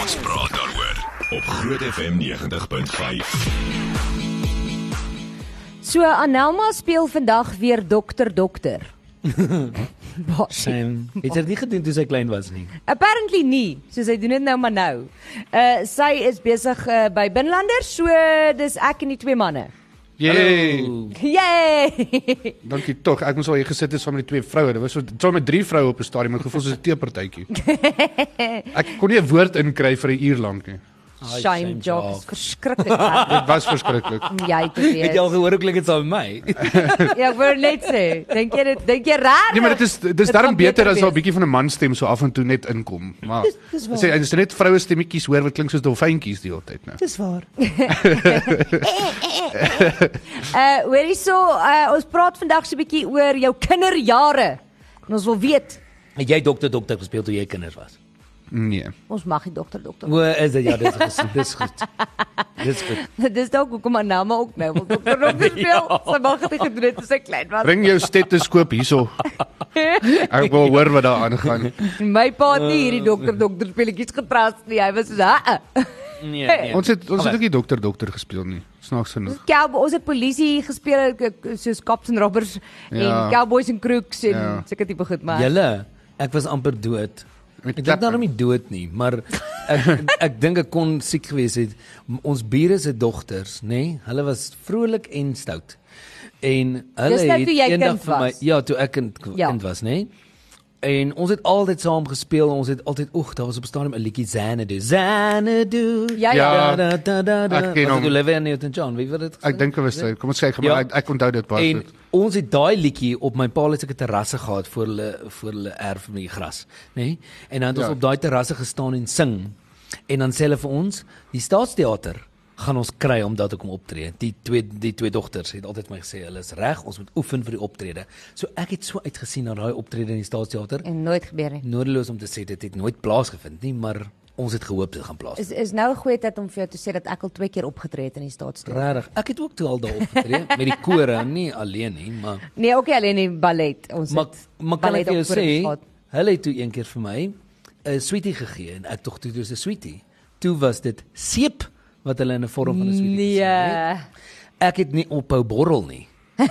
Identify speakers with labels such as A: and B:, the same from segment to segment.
A: Ons praat daaroor op Groot FM 90.5.
B: So Anelma speel vandag weer dokter dokter. Bosh.
C: Sam het dit nie gedoen toe sy klein was nie.
B: Apparently nie, soos hy doen dit nou maar nou. Uh sy is besig uh, by Binlanders, so dis ek en die twee manne.
D: Jee,
B: Yay!
D: dankie tog. Ek moes al hier gesit het saam met die twee vroue. Dit was so saam met drie vroue op 'n stadium, maar gevoel soos 'n teepartytjie. Ek kon nie 'n woord inkry vir 'n uur lank nie.
B: Shame jokes, verskriklik. hard.
D: Dit was verskriklik.
B: Jy te
C: Het jy al
B: weet.
C: gehoor hoe klink dit saam met my?
B: Ja, ek wou net sê, dink jy dit dink jy reg?
D: Nee, maar dit is dis daarom beter as daar 'n bietjie van 'n man stem so af en toe net inkom. Maar
B: dis waar.
D: as jy as jy net vroue stemmetjies hoor wat klink soos dolfyntjies die hele tyd nou.
B: Dis waar. uh hoor hierso, uh, ons praat vandag so 'n bietjie oor jou kinderjare. En ons wil weet,
C: Het jy dokter dokter gespeel toe jy kinders was?
D: Nee.
B: ons mag nie dokter dokter.
C: O, is dit ja, dis goed. Dis goed. Dis goed.
B: Dis dalk hoekom Anelma ook nou wil dokter dokter speel. Sy mag dit nie gedoen het toe sy klein was.
D: Bring jou stetoskoop hierso. Ek wil hoor wat daar aangaan.
B: My pa het nie hierdie dokter dokter speletjies gepraat nie. Hy was so, "Ha."
C: Nee,
B: nee.
D: Ons het ons het ook nie dokter dokter gespeel nie. Snaaks genoeg.
B: Cowboy, ons het polisie gespeel k- soos cops en robbers
D: Ja.
B: en cowboys en crooks en
D: Ja.
B: sulke tipe goed maar.
C: Julle, ek was amper dood.
D: Met
C: Ek dink
D: klappe.
C: daarom nie dood nie, maar ek ek dink ek kon siek gewees het. M- Ons bure se dogters, nê? Nee? Hulle was vrolik en stout. En hulle
B: Dis nou toe jy
C: het eendag
B: kind
C: vir my
B: was.
C: ja, toe ek kind,
B: Ja.
C: kind was, nê? Nee? En ons het altyd saam gespeel. Ons het altyd oeg, daar was op stadium 'n liedjie Xanadu. Xanadu.
B: Ja,
D: ja.
C: Da, da, da, da.
D: Ek ken
C: Was
D: hom.
C: dit Olivia Newton-John. Wie het dit?
D: Ek dink dit was dit. Kom ons kyk,
C: Ja.
D: maar ek, ek onthou dit baie
C: En
D: goed.
C: ons het daai liedjie op my pa se terrasse gehad voor hulle voor hulle erf met die gras, nê? Nee? En dan het ons
D: Ja.
C: op daai terrasse gestaan en sing. En dan sê hulle vir ons, die staatsteater gaan ons kry om daar te kom optree. Die twee die twee dogters het altyd my gesê hulle is reg, ons moet oefen vir die optrede. So ek het so uitgesien na daai optrede in die staatsteater.
B: En nooit gebeur nie.
C: Nodeloos om te sê dit het nooit plaasgevind nie, maar ons het gehoop dit gaan plaas.
B: Is is nou 'n goeie tyd om vir jou te sê dat ek al twee keer opgetree het in die staatstoer.
C: Regtig, ek het ook toe al daar opgetree met die kore, nie alleen nie, maar
B: Nee, ook nie alleen die ballet. Ons
C: Maar
B: het
C: maar kan
B: ballet
C: ek vir jou
B: opvoering
C: sê,
B: gehad.
C: hulle het toe een keer vir my 'n sweetie gegee en ek tog toe dis 'n sweetie. Toe was dit seep wat hulle in 'n vorm van 'n sweetie
B: Nee.
C: gesien het. Ek het nie ophou borrel nie.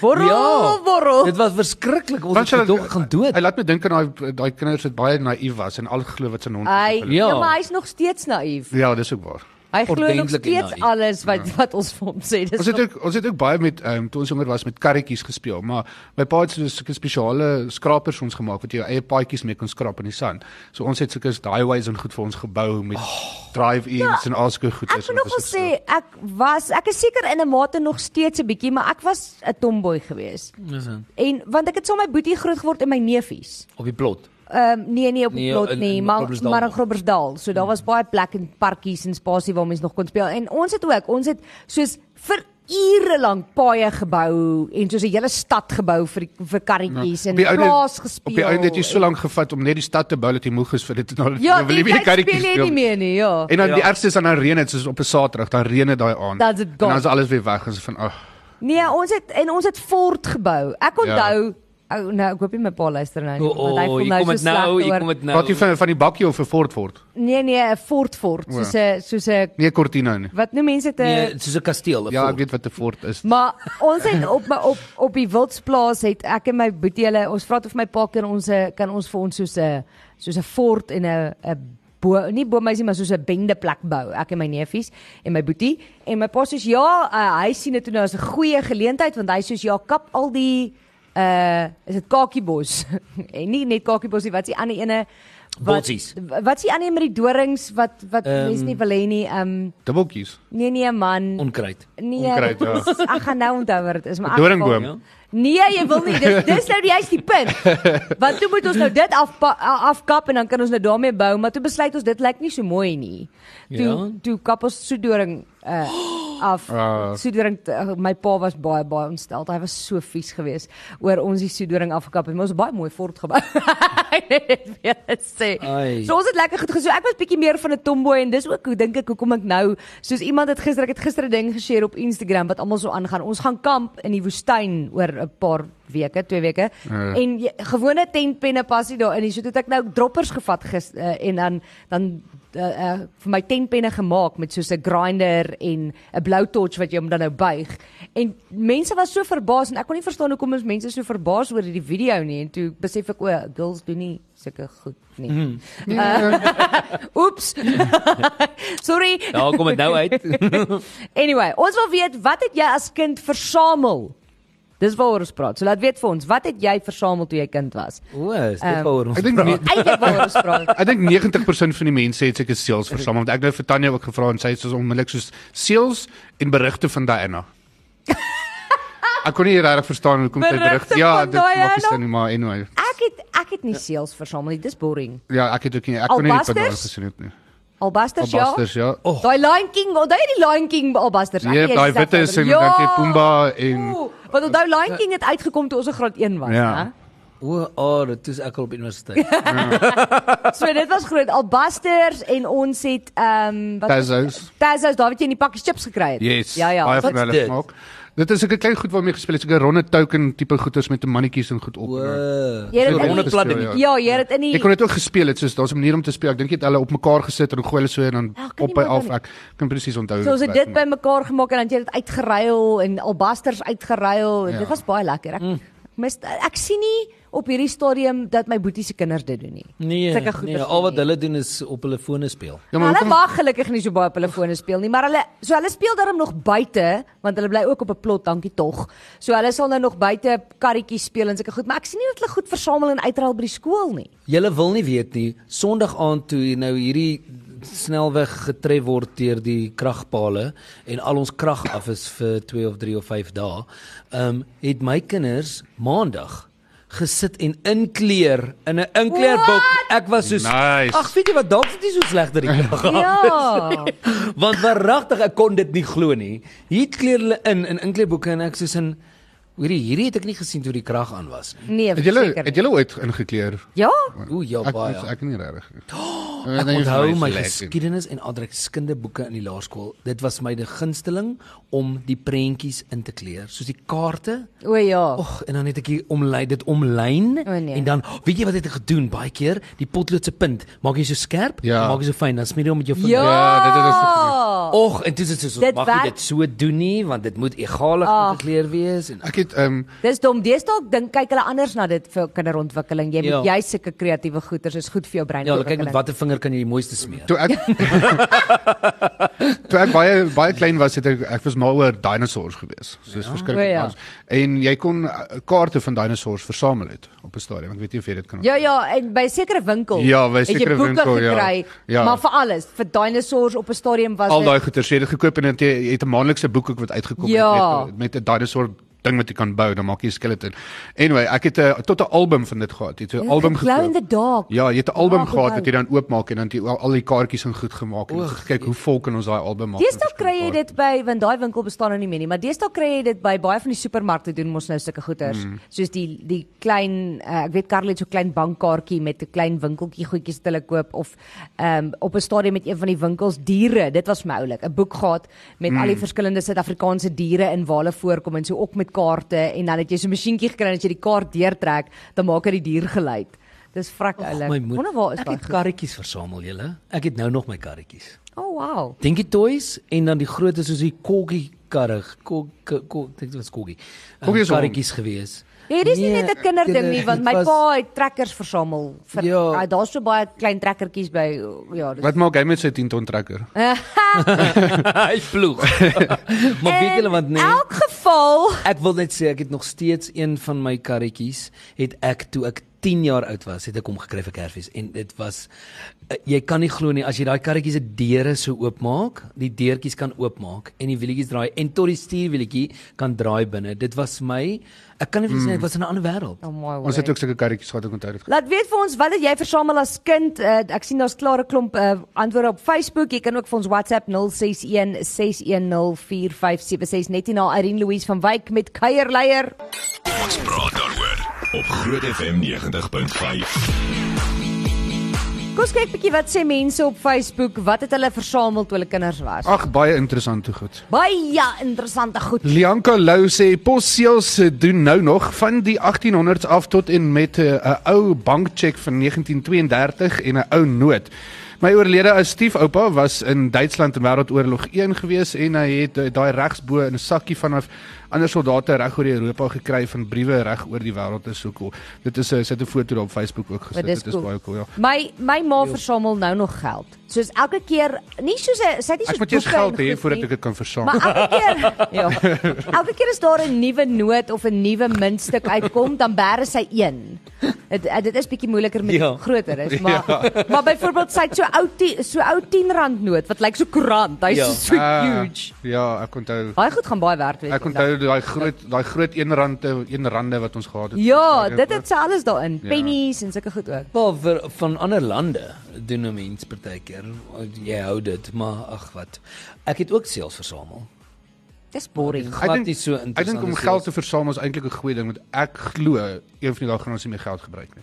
B: Borrel,
C: Ja,
B: borrel.
C: Dit was verskriklik.
D: Want
C: Ons het
D: hulle-
C: dog gaan dood.
D: Hy laat my dink aan daai daai kinders wat baie naïef was en al geglo wat se hond.
B: Hy
C: Ja.
B: ja, maar hy's nog steeds naïef.
D: Ja, dis ook waar.
B: Hy glo nog
C: Ordentlik en
B: steeds
C: naïef.
B: alles wat wat Ja. ons vir hom sê. Dis
D: Ons het
B: nog-
D: ook ons het ook baie met ehm um, toe ons jonger was met karretjies gespeel, maar my pa het so 'n spesiale skrapers vir ons gemaak wat jy jou eie paadjies mee kon skraap in die sand. So ons het sulke highways en goed vir ons gebou met oh, drive-ins ja, en alsoe goed
B: Ek
D: is.
B: moet nogal sê ek was ek is seker in 'n mate nog steeds 'n bietjie, maar ek was 'n tomboy gewees.
C: Dis dan
B: En want ek het saam met my boetie groot geword en my neefies.
C: op die plot.
B: Ehm um, nee nee op die
C: Nee,
B: plot
C: in-
B: nie,
C: in
B: maar
C: Groblersdal.
B: maar in Groblersdal. So daar was baie plek en parkies en spasie waar mense nog kon speel. En ons het ook, ons het soos vir ure lank paaie gebou en soos 'n hele stad gebou vir vir
D: Nou,
B: karretjies en plaas gespeel.
D: Op die einde het jy so lank gevat om net die stad te bou dat jy moeg is vir dit. Nou
B: Ja,
D: nou
B: wil jy
D: weer
B: nie karretjies speel jy nie meer nie, ja.
D: En dan ja. die
C: Ja.
D: ergste is dan dan reën dit soos op 'n Saterdag, dan reën dit daai aand.
B: Dan is dit
D: en
B: gone.
D: dan is alles weer weg en so van ag.
B: Nee, ons het en ons het fort gebou. Ek onthou Ou oh, nou, ek hoop nie my pa luister nou nie,
C: O,
B: want hy
C: o,
B: voel
C: hier
B: nou
C: kom
B: so
C: dit nou,
B: sleg
C: hier
B: oor.
C: kom dit
D: Wat jy
C: nou.
D: van van die bakkie of 'n fort word?
B: Nee nee, 'n fort fort,
D: O.
B: soos 'n soos 'n
D: Nee, Cortina nie.
B: wat noem mense dit 'n
C: Nee, soos 'n kasteel, 'n
D: Ja, ek
C: fort.
D: weet wat 'n fort is.
B: Maar ons het op my op op die wildsplaas het ek en my boetie hulle ons vra toe vir my pa kan ons 'n- kan ons vir ons soos 'n soos 'n fort en 'n 'n bo nie boomhuisie maar soos 'n bende plek bou. Ek en my neefies en my boetie en my pa sê ja, uh, hy sien dit toe nou as 'n goeie geleentheid want hy sê ja, kap al die uh is dit Kakiebos en nie net Kakiebos nie, wat is die ander ene wat
C: Botsies.
B: wat is die ander een met die dorings wat wat um, mense nie wil hê nie. Um
D: Dubbeltjies.
B: nee nee man.
C: Onkruid.
B: Nee,
D: Onkruid, ja.
B: dis- ek gaan nou onthou wat dit is, maar ek
D: Doringboom.
C: Ja.
B: wil- Nee, jy wil nie. Dis dis nou die juiste punt. Want toe moet ons nou dit af afkap en dan kan ons nou daarmee bou, maar toe besluit ons dit lyk nie so mooi nie. Toe
C: Ja.
B: toe kap ons soedoring uh af.
D: Ah.
B: Soedoring t- my pa was baie baie ontstel. Hy was so vies geweest oor ons die soedoring afgekap het. Maar ons het baie mooi fort gebou. Net weer sê.
C: Ai.
B: So Ons het lekker goed gesoek. Ek was bietjie meer van 'n tomboy en dis ook hoe dink ek hoekom ek nou soos iemand het gister ek het gister 'n ding geshare op Instagram wat almal so aangaan. Ons gaan kamp in die woestyn oor 'n paar weke, 2 weke.
D: Ja.
B: En jy, gewone tentpenne pas nie daarin nie. So toe het ek nou ook droppers gevat gis, uh, en dan dan uh, uh, vir my tentpenne gemaak met soos 'n grinder en 'n blowtorch wat jy hom dan nou buig. En mense was so verbaas en ek kon nie verstaan hoekom ons mense so verbaas oor hierdie video nie en toe besef ek o, girls doen nie sulke goed nie. Mm.
D: Nee,
B: Uh, Oeps. Sorry.
D: Ja.
C: Daar kom dit nou uit.
B: Anyway, ons wil weet wat het jy as kind versamel? Dis waaroor ons praat. So laat weet vir ons, wat het jy versamel toe jy kind was?
C: O, is
B: Ehm,
C: dit waaroor ons
D: Ek dink nie-
B: Eintlik waaroor ons praat.
D: Ek dink 90% van die mense het seker seels versamel want ek het nou vir Tanya ook gevra en sy het soos onmiddellik soos seels en berigte van Diana. Ek kon nie regtig verstaan hoekom sy
B: Berigte
D: berig. Ja,
B: van
D: dit maak nie
B: Diana?
D: sin nie, maar anyway.
B: Ek het ek het nie seels versamel nie. Dis boring.
D: Ja, ek het ook nie ek kon nie dit
B: Albasters?
D: daarin gesien het nie.
B: Albasters ja.
D: Albasters, ja.
C: Oh.
B: Daai Lion King, onthou jy die Lion King albasters. Ek
D: Nee,
B: weet
D: daai
B: nie,
D: witte is en
B: Ja!
D: dan het Pumba en-
B: Oeh, Want onthou Lion King het uitgekom toe ons in graad 1 was,
D: Ja.
B: ja.
C: O, oh, dit is ek al op universiteit.
B: So dit was groot albasters en ons het ehm um, wat
D: Tazos.
B: Tazos, daar wat jy in die pakkie chips gekry het.
D: Yes.
B: Ja ja.
D: Baie
B: Wat-
D: van hulle
C: dit?
D: smaak. Dit is 'n klein goed waarmee gespeel het, so 'n ronde token tipe goeders met 'n mannetjies en goed op.
C: O.
D: en dan-
B: Jy het dit
D: So
B: in
D: ronde
B: die-
D: platte-
C: Ja.
B: Ja, jy het dit in die
D: Ek kon dit ook gespeel het, soos daar's 'n manier om te speel. Ek dink jy het hulle op mekaar gesit en dan gooi hulle so en dan
B: Ja, ek kan nie
D: op by
B: meer
D: af.
B: dan-
D: Ek kan presies onthou.
B: So ons het
D: hoe dit
B: dit
D: werk,
B: bymekaar gemaak en dan het jy dit uitgeruil en albasters uitgeruil. Ja.
D: Ja.
B: Dit was baie lekker. Ek mm. mis ek sien nie op hierdie stadium dat my boetie se kinders dit doen nie.
C: Nee,
B: Sulke goeders
C: nee,
B: doen
C: al wat
B: nie.
C: hulle doen is op hulle fone speel.
D: Ja, maar
B: Maar hulle
D: hoekom-
B: mag gelukkig nie so baie op hulle fone speel nie, maar hulle so hulle speel daarom nog buite want hulle bly ook op 'n plot, dankie tog. So hulle sal nou nog buite karretjies speel en sulke goed, maar ek sien nie dat hulle goed versamel en uitruil by die skool nie.
C: Julle wil nie weet nie. Sondag aand toe nou hierdie snelweg getref word deur die kragpale en al ons krag af is vir 2 of 3 of 5 dae. Ehm um, het my kinders maandag gesit en inkleer in 'n inkleerboek. Ek was soos
D: Nice.
C: Ag, weet jy wat, dalk is dit nie so sleg dat die krag af
B: Ja.
C: Want waaragtig ek kon dit nie glo nie. Hier kleer hulle in in inkleerboeke en ek soos in hoorie hierdie het ek nie gesien toe die krag aan was nie.
B: Nee,
D: Het julle
B: verseker
D: het
B: nie.
D: julle ooit ingekleer?
B: Ja.
C: O ja
D: Ek
C: baie.
D: ek, ek nie regtig. Oh,
C: Ek onthou my geskiedenis en aardrykskundige in die laerskool. Dit was my die gunsteling om die prentjies in te kleur, soos die kaarte.
B: O ja.
D: Oh,
C: Och, en dan het ek hier omlei dit omlyn
B: O, nee.
C: en dan weet jy wat het ek gedoen baie keer? Die potlood se punt maak jy so skerp,
D: Ja.
C: maak jy so fyn, dan smeer jy hom met jou vinger.
D: Ja, dit het ons
B: Ja.
C: Och, en dis is so
B: Dit
C: mag jy
B: werk-
C: dit so doen nie want dit moet egalig
B: Ag.
C: gekleer wees en
D: Ek het ehm um,
B: Dis dom. Deesdae dink kyk hulle anders na dit vir kinderontwikkeling. Jy moet
C: Ja.
B: jy sulke kreatiewe goeters is goed vir jou brein.
C: ja, hulle kyk
B: ontwikkeling.
C: met watter vinger kan jy die mooiste smeer.
D: toe ek toe ek baie baie klein was het ek ek was mal oor dinosours gewees. Soos ja.
B: O,
D: verskriklik
B: ja.
D: ja. En jy kon eh, kaarte van dinosours versamel het op 'n stadium. Ek weet nie of jy dit kan.
B: Ja ja, en by sekere winkel.
D: Ja, by
B: het jy
D: sekere
B: boeke
D: winkel, ja.
B: gekry,
D: Ja.
B: Maar vir alles, vir dinosours op 'n stadium was
D: Al
B: dit
D: daai goeder, jy het dit gekoop en het jy jy het 'n maandelikse boek ook wat uitgekom
B: Ja.
D: het met met 'n dinosaur ding wat jy kan bou, dan maak jy 'n skeleton. Anyway, ek het 'n tot 'n album van dit gehad. Jy het 'n album
B: Ja, Glow in
D: gekoop.
B: the dark.
D: Ja, jy het 'n album
B: Ja,
D: gehad
B: onthou.
D: wat jy dan oopmaak en dan het jy al al die kaartjies in goed gemaak en jy het gekyk hoe vol kan ons daai album maak.
B: Deesdae nou kry jy dit by want daai winkel bestaan nou nie meer nie, maar deesdae kry jy dit by baie van die supermarkte doen mos nou sulke goeders, mm. soos die die klein uh, ek weet Karel het so 'n klein bankkaartjie met 'n klein winkeltjie goedjies wat hulle koop of um, op 'n stadium met een van die winkels diere, dit was my oulik, 'n boek gehad met mm. al die verskillende Suid-Afrikaanse diere en waar hulle voorkom en so ook met kaarte en dan het jy so 'n masjienkie gekry en as jy die kaart deurtrek, dan maak hy die dier geluid. Dis vrek oulik.
C: My moed-
B: Wonder waar is
C: ek
B: daai
C: het
B: goed?
C: karretjies versamel julle. Ek het nou nog my karretjies.
B: Oh wow.
C: Dinky Toys en dan die grootes soos die Koggie karrig, Kog Kog dit was Koggie.
D: Koggie is hom.
C: karretjies gewees.
B: Ja, dit is nie net 'n kinderding
C: Nee, dit-
B: nie, want
C: dit
B: my
C: was-
B: pa het trekkers versamel. Vir
C: Ja.
B: ja. daar's so baie klein trekkertjies by ja, dis.
D: Wat maak hy met sy 10 ton trekker?
C: hy ploeg. maar weet julle wat
B: In
C: nee.
B: elk geval
C: Ek wil net sê ek het nog steeds een van my karretjies het ek toe ek 10 jaar oud was, het ek hom gekry vir Kersfees en dit was uh, jy kan nie glo nie as jy daai karretjie se deure so oopmaak, die deurtjies kan oopmaak en die wielietjies draai en tot die stuurwielietjie kan draai binne. Dit was my ek kan nie vir jou sê dit was in 'n ander wêreld.
B: Oh my
D: Ons het
B: word.
D: ook sulke karretjies gehad, ek onthou dit.
B: Laat weet vir ons wat het jy versamel as kind? Uh, ek sien daar's klare klomp uh, antwoorde op Facebook. Jy kan ook vir ons WhatsApp 061 6104576 net hier na Irene Louise van Wyk met kuierleier.
A: Ons praat daaroor op Groot FM 90.5.
B: Kom ons kyk bietjie wat sê mense op Facebook, wat het hulle versamel toe hulle kinders
C: Ah.
B: was.
D: Ag baie interessante goed.
B: Baie interessante goed.
D: Lianka Lou sê posseels eh, doen nou nog van die 1800s af tot en met 'n ou bankcheque van 1932 en 'n ou noot. My oorlede ou stiefoupa was in Duitsland in Wêreldoorlog 1 gewees en hy het eh, daai regsbo in 'n sakkie vanaf ander soldate reg oor Europa gekry van briewe reg oor die wêreld. Dit is so cool. Dit is eh, 'n sit 'n foto daar op Facebook ook gesit.
B: Maar dis
D: Dit is
B: cool.
D: baie cool. Ja.
B: My my ma versamel nou nog geld. Soos elke keer, nie soos 'n sy het nie soos
D: Ek moet eers
B: boeke en
D: geld hê
B: goed
D: voordat
B: nie.
D: ek dit kan versamel.
B: Maar elke keer ja. Elke keer as daar 'n nuwe noot of 'n nuwe muntstuk uitkom, dan bære sy een. Dit eh, dit is bietjie moeiliker met
C: Ja.
B: ja. groter is, maar ja. maar byvoorbeeld sy het so ou ti- so ou 10 rand noot wat lyk so koerant. Hy's
C: Ja.
B: ja. so
D: Ah,
B: huge.
D: Ja, ek onthou.
B: Baie goed gaan baie werd wees.
D: Ek onthou
C: Ja.
D: daai groot daai groot 1 rande 1 rande wat ons gehad het.
B: Ja, dit het sy alles daarin.
D: Ja.
B: Ja. Pennies en sulke goed ook.
C: Maar vir, van ander lande doen 'n mens partykeer. Jy hou dit, maar ag wat. Ek het ook seels versamel.
B: Dis boring.
C: glad nie so
D: Ek dink om
C: interessant as
D: geld te versamel is eintlik 'n goeie ding want ek glo een van die dae gaan ons nie meer geld gebruik nie.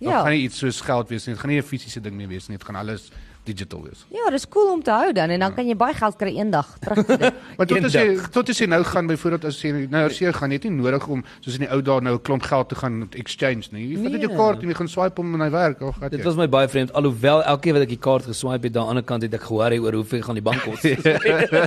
D: Dit gaan
B: Ja.
D: nie iets soos geld wees nie. Dit gaan nie 'n fisiese ding meer wees nie. Dit gaan alles digital wees.
B: Ja, dis cool om te hou dan en
C: Ja.
B: dan kan jy baie geld kry eendag terug vir dit.
D: Maar tot as
C: Eendag.
D: jy tot as jy nou gaan byvoorbeeld as jy nou as jy gaan jy het nie nodig om soos in die ou dae nou 'n klomp geld te gaan exchange nie. Jy vat net jou
C: Nee.
D: kaart en jy gaan swipe hom en hy werk. Ag, gat
C: Dit
D: jy.
C: was my baie vreemd alhoewel elke keer wat ek die kaart geswipe het, aan die ander kant het ek gehoor hy oor hoeveel gaan die bank
D: Ja.
C: kos.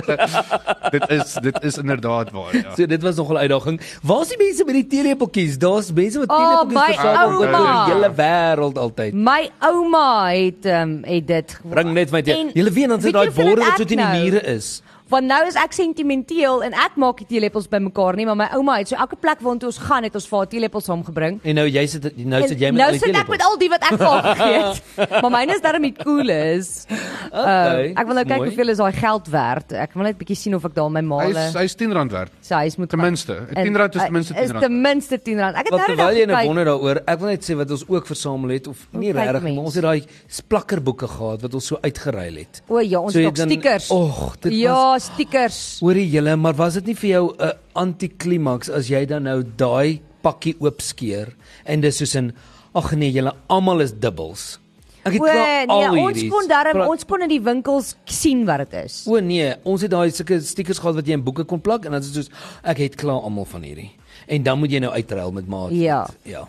D: Dit is dit is inderdaad waar, ja.
C: So dit was nogal 'n uitdaging. Waar's die mense met die teelepeltjies? Daar's mense wat
B: Oh,
C: teelepeltjies
B: my
C: versamel oor
B: ouma.
C: die hele wêreld altyd.
B: My ouma het ehm um, het dit gewa-
C: Bring net my
B: En
C: teer. Julle weet dan sit
B: weet
C: daai
B: jy hoeveel
C: borde
B: het
C: wat
B: ek
C: so teen die
B: nou?
C: mure is.
B: Want nou is ek sentimenteel en ek maak die teelepels bymekaar nie, maar my ouma het so elke plek waartoe ons gaan het ons vir haar teelepels saamgebring.
C: En nou jy sit nou
B: En
C: sit jy met
B: nou
C: al die
B: sit ek met
C: teelepels.
B: al die wat ek vir haar gegee het. maar myne is darem die coolest.
C: Okay,
B: ek wil nou
C: dis
B: kyk
C: mooi.
B: hoeveel is daai geld werd. Ek wil net bietjie sien of ek daar my
D: Hy
B: maale
D: is hy is 10 rand werd.
B: sy huis moet
D: ten minste. 10 rand is ten minste 10
B: Is
D: rand.
B: ten minste 10 rand. Ek het
C: Wat
B: nou
C: terwyl
B: net
C: jy nou
B: gekyk.
C: wonder daaroor, ek wil net sê wat ons ook versamel het of nie
B: Oh, kyk
C: regtig, maar
B: mens?
C: ons het daai plakkerboeke gehad wat ons so uitgeruil het.
B: O ja, ons
C: So
B: so,
C: jy
B: het
C: dan-
B: ook stickers.
C: Och, dit
B: ja, stickers.
C: Hoorie julle, maar was dit nie vir jou 'n antiklimaks as jy dan nou daai pakkie oopskeer en dis soos 'n ag nee, julle almal is dubbels. Ek het
B: O
C: klaar
B: nee,
C: al
B: ons
C: hierdie
B: kon darm
C: pra-
B: ons kon in die winkels k- sien wat dit is.
C: O nee, ons het daai sulke stickers gehad wat jy in boeke kon plak en dan is dit soos ek het klaar almal van hierdie. En dan moet jy nou uitruil met maat.
B: Ja.
C: Ja.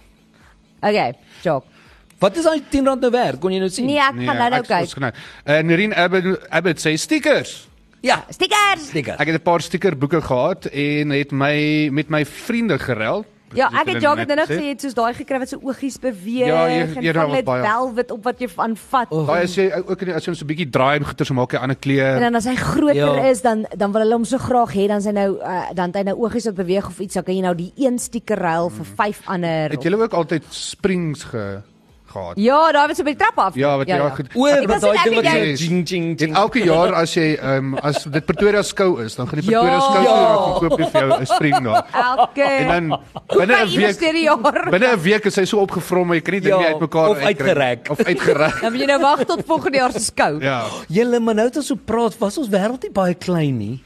B: Okay, Jock.
C: Wat is daai 10 rand nou werd? Kon jy nou sien?
B: Nee, ek gaan nou nou kyk.
D: En Nurien Eh, Abbott Abbott sê stickers.
C: Ja,
B: Stickers.
C: sticker.
D: Ek het 'n paar stiekerboeke gehad en het my met my vriende geruil.
B: Ja, ek het Jacques
D: Dit
B: dan
D: het
B: ook gesê
D: jy
B: jy het soos daai gekry wat se oogies beweeg
D: Ja, jy- jy
B: en
D: raak
B: van
D: wat
B: dit
D: baie.
B: velvet op wat jy aanvat.
C: O,
B: Oh.
D: Daai as jy ook in die- as jy hom so 'n bietjie draai en goeie so maak jy ander
B: En
D: kleur.
B: dan as hy groter
C: Ja.
B: ja. is dan dan wil hulle hom so graag hê dan sy nou uh, dan het hy nou oogies wat beweeg of iets dan kan jy nou die een stieker ruil vir vyf ander.
D: Mhm. Het jy ook altyd springs ge gehad?
B: Ja, daai wat so by die trap af.
D: Ja, wat ja, goed.
C: O,
B: Ek
C: wat
B: was
C: daai
B: net
C: ding wat
B: ek
C: jy
D: het jou-
C: jing jing
D: Dit
C: jing.
D: elke jaar as jy ehm um, as dit Pretoria skou is, dan gaan die
B: Ja.
D: Pretoria skou toe en dan koop jy vir jou 'n spring daar.
B: Elke
D: Ah, En dan binne 'n week
B: hierdie jaar.
D: binne 'n week is hy so opgevrom, maar jy kan nie ding
C: Ja,
D: nie uitmekaar
C: of
D: uitkry-
C: uitgereik.
D: Of uitgereg.
B: Dan moet jy nou wag tot volgende jaar se skou.
D: Ja.
C: Julle, maar nou dat ons so praat, was ons wêreld nie baie klein nie.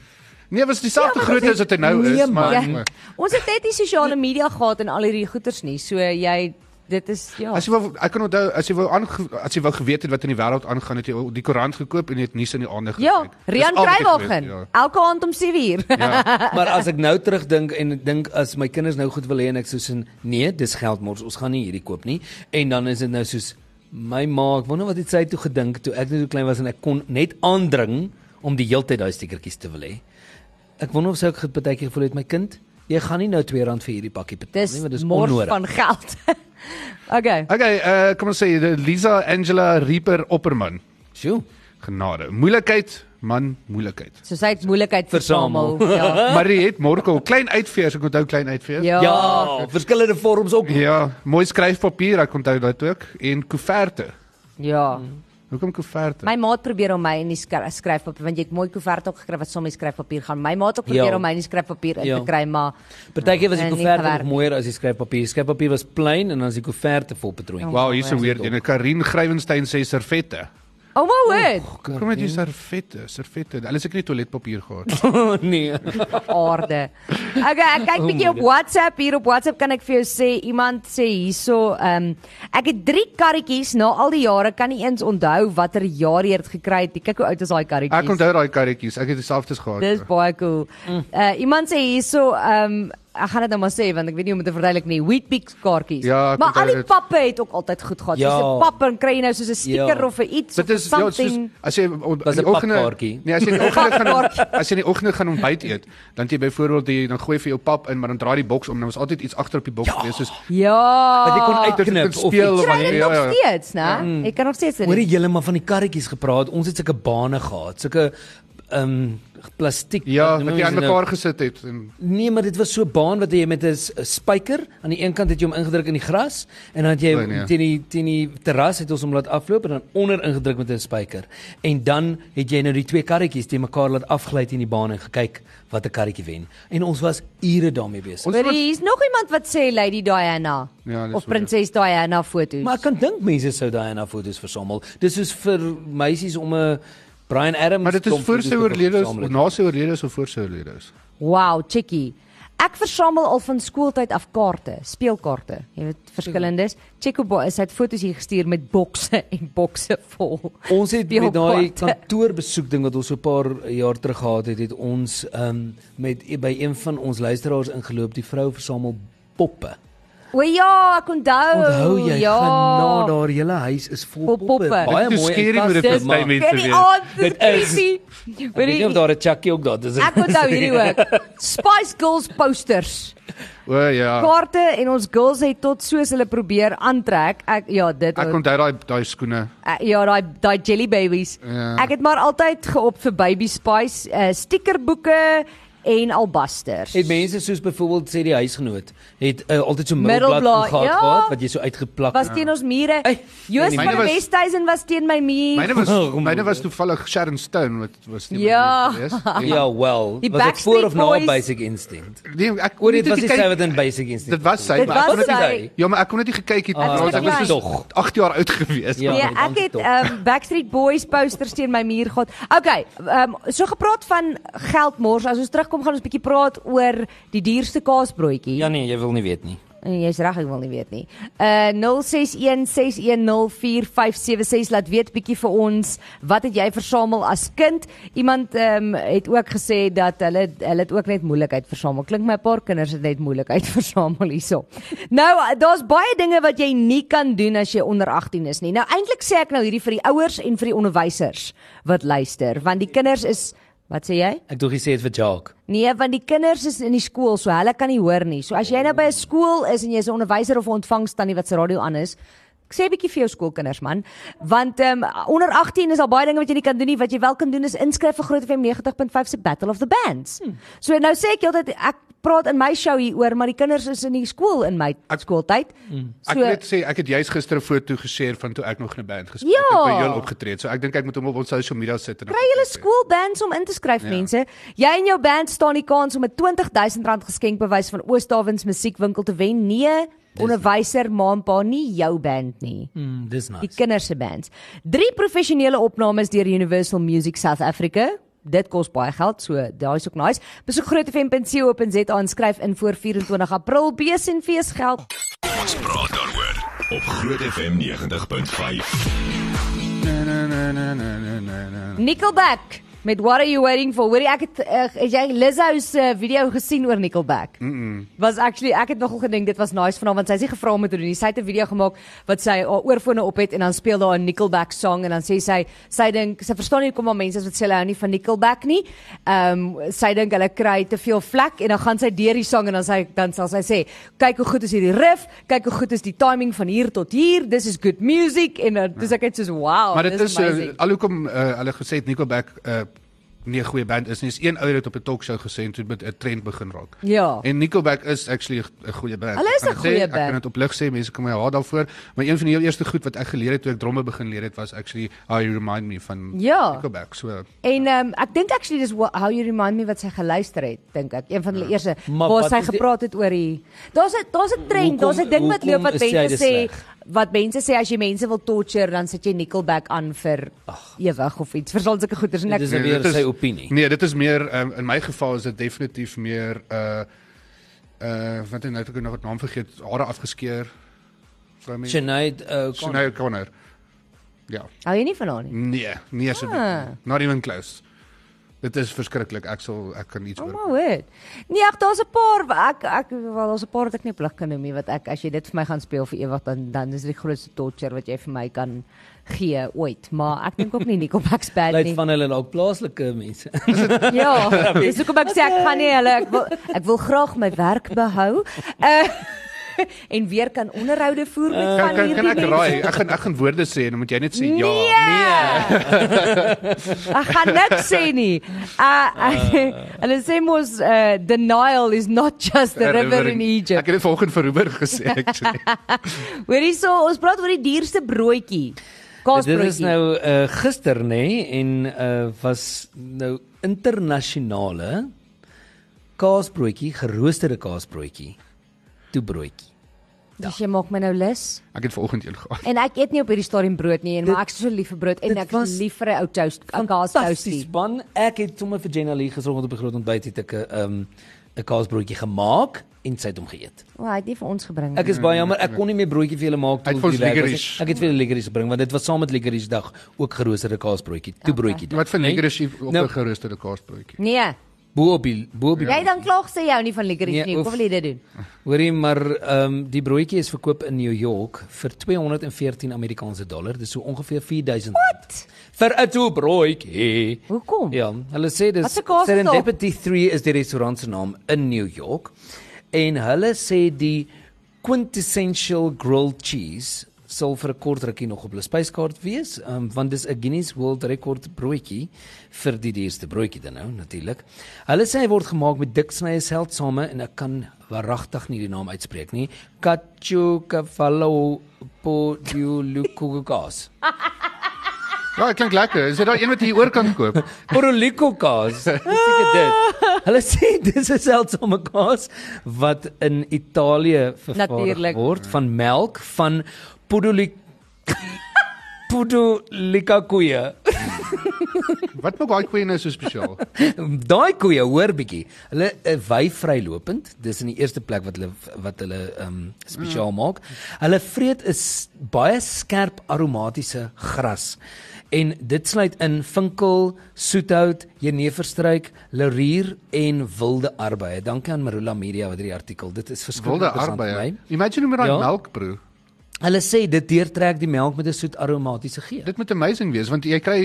D: Nee, was dieselfde
B: Ja, maar
D: grootte as wat hy nou
C: nee,
D: is, maar
B: Ja. Ons het net nie sosiale media gehad en al hierdie goeters nie. So jy dit is ja.
D: As jy wou ek kan onthou as jy wou aan as jy wou geweet het wat in die wêreld aangaan het jy ou- die koerant gekoop en jy het nuus in die aande gekyk.
B: Ja,
D: Dis
B: Rian
D: al wat ek
B: Kruiwagen.
D: geweet,
B: Elke aand om 7uur.
D: Ja. ja.
C: Maar as ek nou terugdink en ek dink as my kinders nou goed wil hê en ek sê sin nee, dis geldmors, ons gaan nie hierdie koop nie. En dan is dit nou soos my ma, ek wonder wat het sy toe gedink toe ek net so klein was en ek kon net aandring om die heeltyd daai stiekertjies te wil hê. Ek wonder of sy ook baie keer gevoel het my kind, jy gaan nie nou R2 vir hierdie pakkie betaal
B: Dis
C: nie, want Nee, dis
B: mors
C: onnodig.
B: van geld. okay.
D: Okay, uh kom ons sê eh, Lisa Angela Reaper Opperman.
C: Sjoe.
D: Genade. Moeilikheid, man, moeilikheid.
B: So sy het moeilikheid
C: Versamel.
B: versamel. Ja.
D: Mariet Morkel, klein uitveers, ek onthou klein uitveers.
B: Ja.
C: Ja, verskillende vorms ook.
D: ja, mooi skryfpapier, ek onthou dit ook en koeverte.
B: ja.
D: Hoekom koeverte?
B: My ma het probeer om my in die skry- skryfpapier want jy het mooi koevert ook gekry wat soms die skryfpapier gaan. My ma het ook
C: Ja.
B: probeer om my in die skryfpapier in
C: Ja.
B: te kry, maar
C: Partykeer was die
B: Nee, nie
C: koevert nog
B: gewerk.
C: mooier as die skryfpapier. Die skryfpapier
B: Ja.
C: was plain en dan is die koevert vol patroon.
D: Wow, hier's 'n weird een. Karin Grywenstein sê servette.
B: Oh my word.
D: Kom met jou servette, servette. Hulle het seker nie toiletpapier gehad.
C: nee.
B: aarde. Okay, ek kyk bietjie op WhatsApp. Hier op WhatsApp kan ek vir jou sê iemand sê hierso, ehm ek het 3 karretjies na al die jare kan nie eens onthou watter jaar jy dit gekry het. nie. Kyk hoe oud is daai
D: Ek
B: karretjies.
D: onthou daai karretjies. Ek het dieselfdes gehad.
B: Dis baie cool.
C: Mm.
B: Uh iemand sê hierso, ehm ek gaan dit nou maar sê want ek weet nie hoe om dit te verduidelik nie. Wheatbix kaartjies.
D: Ja, ek
B: maar
D: onthou
B: al die
D: dit.
B: pappe het ook altyd goed gehad.
C: Ja.
B: Soos 'n pap en kry jy nou soos 'n sticker
C: Ja.
B: of 'n iets
D: Dit
B: of
D: is ja, soos
B: something.
D: as jy on-
C: Dis 'n
D: in die oggende-
C: papkaartjie.
D: Nee, as jy in die oggend gaan as jy in die oggend gaan ontbyt eet, dan het jy byvoorbeeld die dan gooi jy vir jou pap in, maar dan draai die boks om, dan was altyd iets agter op die boks
C: Ja.
D: wees soos
B: Ja.
C: Wat jy kon Mm.
D: dat jy
C: uitknip
D: kan
C: of
D: speel
C: iets.
D: of
B: Kry dit
D: ja,
B: nog
D: ja.
B: steeds, né? Ek kan nog steeds dit.
C: Hoor jy julle maar van die karretjies gepraat. Ons het sulke bane gehad, sulke ehm plastiek
D: Ja,
C: wat noem
D: wat jy
C: mens
D: aan
C: dit nou?
D: mekaar gesit het en
C: Nee, maar dit was so 'n baan wat jy met 'n s- 'n spyker aan die een kant het jy hom ingedruk in die gras en dan het jy
D: O, nee.
C: teen die teen die terras het ons hom laat afloop en dan onder ingedruk met 'n spyker. En dan het jy nou die twee karretjies teen mekaar laat afgly teen die baan en gekyk watter karretjie wen. En ons was ure daarmee besig.
D: Ons
B: Ons
D: moet-
B: hier's nog iemand wat sê Lady Diana
D: Ja, dis
B: of
D: waar.
B: prinses Diana foto's.
C: Maar ek kan dink mense sou Diana foto's versamel. Dis soos vir meisies om 'n Brian Adams
D: maar dit is
C: klomp
D: voor
C: foto's
D: sy
C: te
D: oorlede is,
C: versamel
D: of
C: het.
D: na sy oorlede is of voor sy oorlede is.
B: wow, chickie. Ek versamel al van skooltyd af kaarte, speelkaarte. Jy weet verskillendes. Chickobo is hy het foto's hier gestuur met bokse en bokse vol.
C: Ons het met daai
B: Speelkaarte.
C: kantoorbesoek ding wat ons so 'n paar jaar terug gehad het, het ons ehm um, met by een van ons luisteraars ingeloop. Die vrou versamel poppe.
B: O ja, ek onthou.
C: Onthou jy
B: ja.
C: gaan na daar hele huis is vol
B: Vol
C: poppe.
B: poppe.
C: Baie
D: Dit is
C: mooi.
D: scary
C: en
D: hoe dit
C: kaste,
D: is,
C: maar-
D: Damien.
B: Dit
D: Mense
B: is aard,
C: weet.
B: dit is creepy.
C: Ek weet nie of
B: Weet jy?
C: daar 'n Chuckie ook daar is.
B: Ek onthou hierdie ook. Spice Girls posters.
D: O ja.
B: Kaarte en ons girls het tot soos hulle probeer aantrek. Ek ja, dit
D: Ek
B: ook.
D: onthou daai daai skoene.
B: Uh, ja, daai daai jelly babies.
D: Ja.
B: Ek het maar altyd geop vir Baby Spice uh, stickerboeke en albasters.
C: Het mense soos byvoorbeeld sê die huisgenoot het uh, altyd so
B: Middelblad,
C: middelblad gehad
B: ja.
C: gehad wat jy so uitgeplak
B: was
D: Ja.
B: teen ons mure.
C: Ei,
B: Joos
C: myne
B: van die
D: was-
B: Westhuizen was teen my
D: Myne
B: muur.
D: was
C: Oh,
D: myne was toevallig Sharon Stone wat was die
B: Ja.
C: Ja, wel.
B: Die
C: was dit voor of na
B: Backstreet Boys.
C: Basic Instinct?
D: Nee, ek
C: Oor
D: kon
C: dit
D: nie
C: was
D: toe
C: die
D: kyk-
C: sy wat in Basic Instinct.
D: Dit was sy,
B: Dit
D: maar ek kon
B: was
D: dit nie
B: sy.
D: Ja, maar ek kon dit nie gekyk het nie.
B: Ah,
D: want
B: dit
D: ek was
B: was
D: so 8 jaar oud gewees.
C: Ja,
B: Nee,
C: dit was
B: ek het
C: top.
B: um, Backstreet Boys posters teen my muur gehad. Okay, um, so gepraat van geldmors. As ons terugkom gaan ons bietjie praat oor die duurste kaasbroodjie.
C: Ja nee, jy wil nie weet nie.
B: En jy's reg, ek wil nie weet nie. Uh 0616104576 laat weet bietjie vir ons, wat het jy versamel as kind? Iemand ehm um, het ook gesê dat hulle hulle het ook net moeilikheid versamel. Klink my 'n paar kinders het net moeilikheid versamel hierso. Nou, daar's baie dinge wat jy nie kan doen as jy onder 18 is nie. Nou eintlik sê ek nou hierdie vir die ouers en vir die onderwysers wat luister, want die kinders is Wat sê jy?
C: Ek dink jy sê dit vir Jacques.
B: Nee, want die kinders is in die skool, so hulle kan nie hoor nie. So as jy nou by 'n skool is en jy's 'n onderwyser of 'n ontvangstannie wat se radio aan is, ek sê bietjie vir jou skoolkinders man, want ehm um, onder 18 is al baie dinge wat jy nie kan doen nie. Wat jy wel kan doen is inskryf vir Groot FM 90.5 se Battle of the Bands. Hmm. So nou sê ek heeltyd ek praat in my show hier oor, maar die kinders is in die skool in my skooltyd. Hmm.
D: Ek wil net sê ek het juis gister 'n foto geshare van toe ek nog in 'n band gespeel het
B: Ja.
D: en by julle opgetree het. So ek dink ek moet hom op ons social media sit en
B: Kry julle skoolbands om in te skryf ja. mense. Jy en jou band staan die kans om 'n R20000 geskenkbewys van Oostawens Musiekwinkel te wen. Nee, onderwyser ma en pa nie jou band nie.
C: Mm, dis
B: Die
C: nice.
B: kinders se bands. Drie professionele opnames deur Universal Music South Africa. Dit kos baie geld, so daai is ook nice. Besoek grootfm.co.za en skryf in voor 24 April Besenfees geld.
A: Ons praat daaroor op Groot FM 90.5.
B: Nickelback met What Are You Waiting For? Hoorie ek het uh, het jy Lizzo se eh, video gesien oor Nickelback. Mm -mm. Was actually ek het nogal gedink dit was nice van haar want sy is nie gevra om dit te doen nie. Sy het 'n video gemaak wat sy haar oorfone op het en dan speel daar 'n Nickelback song en dan sê sy sy dink sy verstaan nie hoekom al mense is wat sê hulle hou nie van Nickelback nie. Ehm um, sy dink hulle kry te veel vlek en dan gaan sy deur die song en dan sy dan sal sy sê kyk hoe goed is hierdie riff, kyk hoe goed is die timing van hier tot hier. This is good music en dan dis ek net soos wow.
D: Ja. Maar dit
B: dis
D: is
B: amazing.
D: uh, alhoekom uh, hulle gesê het Nickelback uh, nie 'n goeie band is nie. Is een ou het op 'n talkshow gesê en toe het 'n trend begin raak.
B: Ja.
D: En Nickelback is actually 'n goeie band.
B: Hulle is
D: Ek kan
B: 'n
D: dit sê,
B: goeie
D: Ek
B: band.
D: kan dit op lig sê, mense kan my haat daarvoor, maar een van die heel eerste goed wat ek geleer het toe ek dromme begin leer het was actually how you remind me van
B: Ja.
D: Nickelback. So
B: En ehm um, ek dink actually dis wha- how you remind me wat sy geluister het, dink ek. Een van hulle eerste
C: Ja. Maar
B: waar
C: wat
B: sy
C: is die-
B: gepraat het oor die Daar's 'n daar's 'n trend,
C: Hoekom-
B: daar's 'n ding wat
C: hoekom
B: loop wat
C: is
B: mense
C: sy dit
B: sê
C: sleg?
B: wat mense sê as jy mense wil torture dan sit jy Nickelback aan vir ewig of iets. Verstaan sulke goeders en ek
C: Dit is weer
D: dit is-
C: sy opinie.
D: Nee, dit is meer um, in my geval is dit definitief meer uh uh wat het nou ek nog 'n naam vergeet, hare afgeskeer. Sien
C: Sinead uh, Connor.
D: nou Connor. Ja.
B: hou jy nie van haar nie.
D: Nee, nee asseblief.
B: Ah.
D: Ah. Not even close. Dit is verskriklik. Ek sal ek kan iets
B: Oh
D: oor.
B: my word. Nee, ag daar's 'n paar wa- ek ek wel daar's 'n paar wat ek nie plig kan noem nie wat ek as jy dit vir my gaan speel vir ewig dan dan is dit die grootste torture wat jy vir my kan gee ooit. Maar ek dink ook nie Nickelback se bad
C: Lyk
B: nie.
C: van hulle dalk plaaslike mense.
B: Ja, dis hoekom ek sê ek gaan nie hulle ek wil ek wil graag my werk behou. Uh en weer kan onderhoude voer met
D: Eh, Kan
B: van
D: kan,
B: hierdie
D: kan ek
B: mense.
D: raai? Ek gaan ek gaan woorde sê en dan moet jy net sê ja.
B: Nee. ek gaan niks sê nie. Uh,
D: Ah.
B: uh, hulle sê mos uh, the Nile is not just the river in
D: Ek
B: Egypt.
D: het dit vanoggend vir Ruben gesê actually.
B: Hoor hierso, ons praat oor die dierste broodjie.
C: Dit is
B: Kaasbroodjie.
C: nou uh, gister nê nee, en uh, was nou internasionale kaasbroodjie, geroosterde kaasbroodjie. Toe broodjie.
B: Dis jy maak my nou lus.
D: Ek het vanoggend een gehad.
B: En ek eet nie op hierdie stadium brood nie, en maar ek is so lief vir brood en
C: dit
B: ek is
C: was
B: lief vir 'n ou toast, 'n
C: Fantasties
B: kaastoastie.
C: man. Ek het sommer vir Jenna Lee gisteroggend op die groot ontbyt het ek 'n um, 'n kaasbroodjie gemaak en sy het hom geëet.
B: O, hy het nie vir ons gebring
C: Ek
B: nie.
C: is baie jammer, ek kon nie meer broodjie vir julle maak
D: Hy het
C: toe
D: vir ons
C: die werk was nie.
D: liquorice.
C: Ek het vir julle lekkeries gebring want dit was saam met lekkeries dag ook geroosterde kaasbroodjie, toe broodjie. dag,
D: Wat vir
C: né?
D: lekker is hier op
C: Nou,
D: 'n geroosterde kaasbroodjie.
B: Nee.
C: Bo op die bo op die
B: Jy dan klaag sê jou nie van lekker iets
C: Ja. Nee,
B: nie. Hoekom
C: oef.
B: wil jy dit doen?
C: Hoorie, maar ehm um, die broodjie is verkoop in New York vir 214 Amerikaanse dollar. Dis so ongeveer 4000. Wat? Vir 'n toe broodjie.
B: Hoekom?
C: Ja, hulle sê dis
B: Wat 'n kaas is daar?
C: Serendipity 3 is die restaurant se naam in New York. En hulle sê die quintessential grilled cheese sal vir 'n kort rukkie nog op hulle spyskaart wees, um, want dis 'n Guinness World Record broodjie vir die duurste broodjie dan nou natuurlik. Hulle sê hy word gemaak met dik snye seldsame en ek kan waaragtig nie die naam uitspreek nie. Caciocavallo podiulukugas.
D: Ja, dit klink lekker. Is dit daai een wat jy hier oor kan koop?
C: Porolico kaas. Seker dit. Hulle sê dis 'n seldsame kaas wat in Italië vervaardig
B: Natuurlijk.
C: word van melk van Podolico Podolica koeie.
D: Wat maak daai koe nou so spesiaal?
C: Daai koeie hoor bietjie. Hulle eh, wy vrylopend. Dis in die eerste plek wat hulle wat hulle ehm um, spesiaal maak. Hulle vreet is baie skerp aromatiese gras. En dit sluit in vinkel, soethout, jeneverstruik, laurier en wilde arbeie. Dankie aan Marula Media wat hierdie artikel. Dit is verskriklik
D: Wilde
C: interessant vir my.
D: arbeid. Imagine hoe met daai
C: Ja.
D: melkbroe.
C: Hulle sê dit deurtrek die melk met 'n soet aromatiese geur.
D: Dit moet amazing wees want jy kry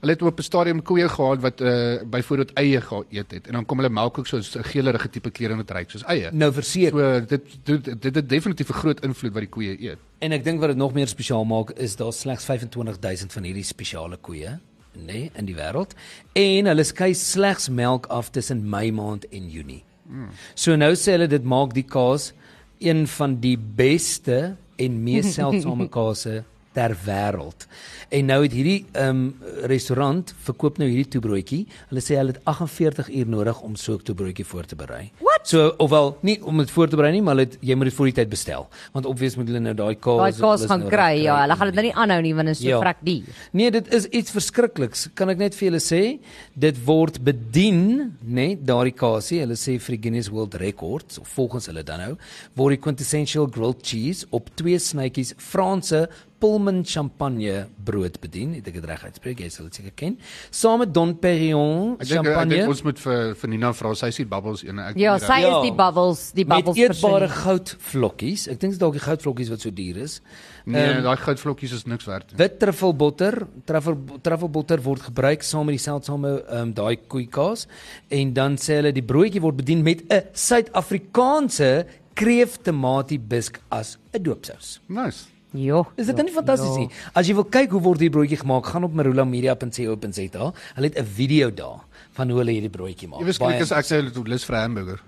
D: hulle het op 'n stadium koeie gehad wat uh byvoorbeeld eie geëet het en dan kom hulle melk ook so 'n geelerige tipe kleur en dit ryk soos eie.
C: Nou verseker.
D: So dit dit dit het definitief 'n groot invloed wat die koeie eet.
C: En ek dink wat dit nog meer spesiaal maak is daar slegs 25000 van hierdie spesiale koeie, nê, nee, in die wêreld. En hulle skei slegs melk af tussen Mei maand en Junie. Mm. So nou sê hulle dit maak die kaas een van die beste en mees seldsame kase ter wêreld. En nou het hierdie ehm um, restaurant verkoop nou hierdie toebroodjie. Hulle sê hulle het 48 uur nodig om so 'n toebroodjie voor te berei.
B: What?
C: So ofwel nie om dit voor te berei nie, maar hulle het, jy moet dit voor die tyd bestel. Want obviously moet hulle nou daai kaas
B: Daai kaas
C: hulle is
B: gaan
C: nou
B: kry,
C: reg
B: ja, hulle gaan dit nou nie aanhou nie want dit is so
C: Ja.
B: vrek duur.
C: Nee, dit is iets verskrikliks. Kan ek net vir julle sê, dit word bedien, nê, nee, daardie kasie, hulle sê vir die Guinness World Records, of volgens hulle dan nou, word die quintessential grilled cheese op twee snytjies Franse Pullman champagne brood bedien. Het ek dit reg uitspreek? Jy sal dit seker ken. Saam met Don Perignon
D: Ek dink ek dink
C: champagne.
D: ons moet vir vir Nina vra sy sien bubbles een ek
B: Ja, sy
C: Ja.
B: is die bubbles, die
C: Met
B: bubbles
C: eetbare
B: persoon.
C: goudvlokkies. Ek dink dit is dalk die goudvlokkies wat so duur is. Ehm,
D: nee, daai goudvlokkies is niks werd nie.
C: Wit truffelbotter, truffel truffelbotter word gebruik saam met die seldsame ehm um, daai koeikaas en dan sê hulle die broodjie word bedien met 'n Suid-Afrikaanse kreeftomatie bisk as 'n doopsous.
D: Nice.
B: Jo.
C: Is
D: Ja.
C: dit dan nie fantasties nie? As jy wil kyk hoe word hierdie broodjie gemaak, gaan op marulamedia.co.za. Hulle het 'n video daar van hoe hulle hierdie broodjie maak.
D: Jy weet skrik as ek sê hulle het lus vir 'n hamburger.